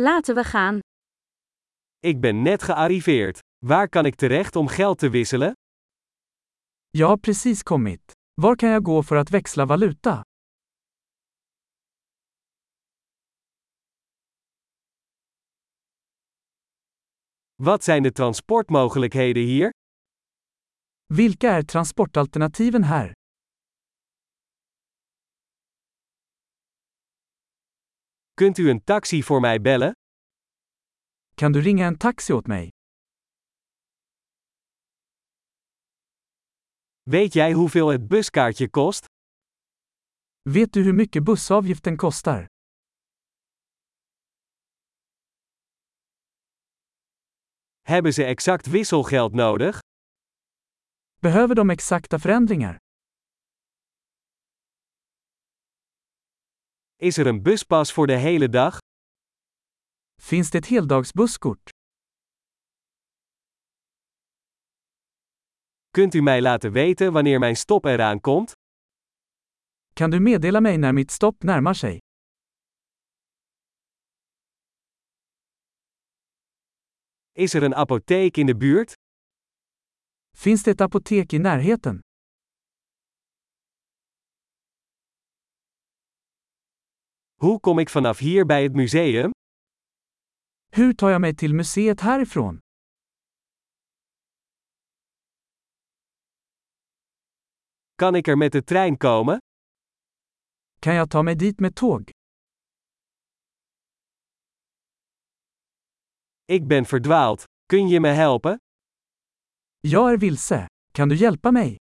Laten we gaan. Ik ben net gearriveerd. Waar kan ik terecht om geld te wisselen? Jag har precis kommit. Var kan jag gå för att växla valuta? Wat zijn de transportmogelijkheden hier? Vilka är transportalternativen här? Kunt u een taxi voor mij bellen? Kan du ringa en taxi åt mig? Weet jij hoeveel het buskaartje kost? Vet du hur mycket bussavgiften kostar? Hebben ze exact wisselgeld nodig? Behöver de exakta förändringar? Is er een buspas voor de hele dag? Finns det ett heldagsbusskort? Kunt u mij laten weten wanneer mijn stop eraan komt? Kan du meddela mig när mitt stopp närmar sig? Is er een apotheek in de buurt? Finns det ett apotek i närheten? Hoe kom ik vanaf hier bij het museum? Hur tar jag mig till museet härifrån? Kan ik er met de trein komen? Kan jag ta mig dit med tåg? Ik ben verdwaald. Kun je me helpen? Jag är vilse. Kan du hjälpa mig?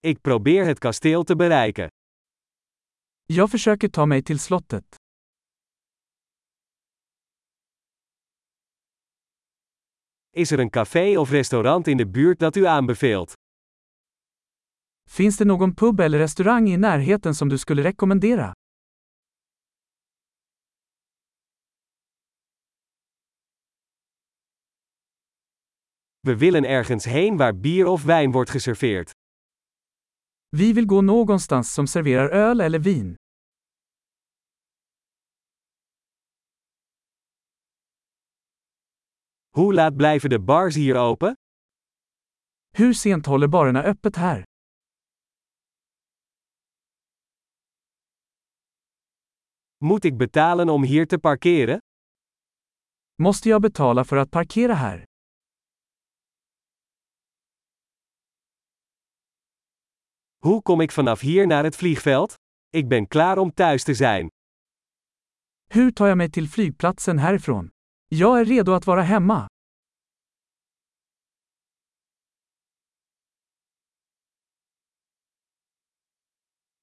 Ik probeer het kasteel te bereiken. Jag försöker ta mig till slottet. Is er een café of restaurant in de buurt dat u aanbeveelt? Finns det någon pub eller restaurang i närheten som du skulle rekommendera? We willen ergens heen waar bier of wijn wordt geserveerd. Vi vill gå någonstans som serverar öl eller vin. Hoe laat blijven de bars hier open? Hur sent håller barerna öppet här? Moet ik betalen om hier te parkeren? Måste jag betala för att parkera här? Hoe kom ik vanaf hier naar het vliegveld? Ik ben klaar om thuis te zijn. Hur tar jag mig till flygplatsen härifrån? Jag är redo att vara hemma.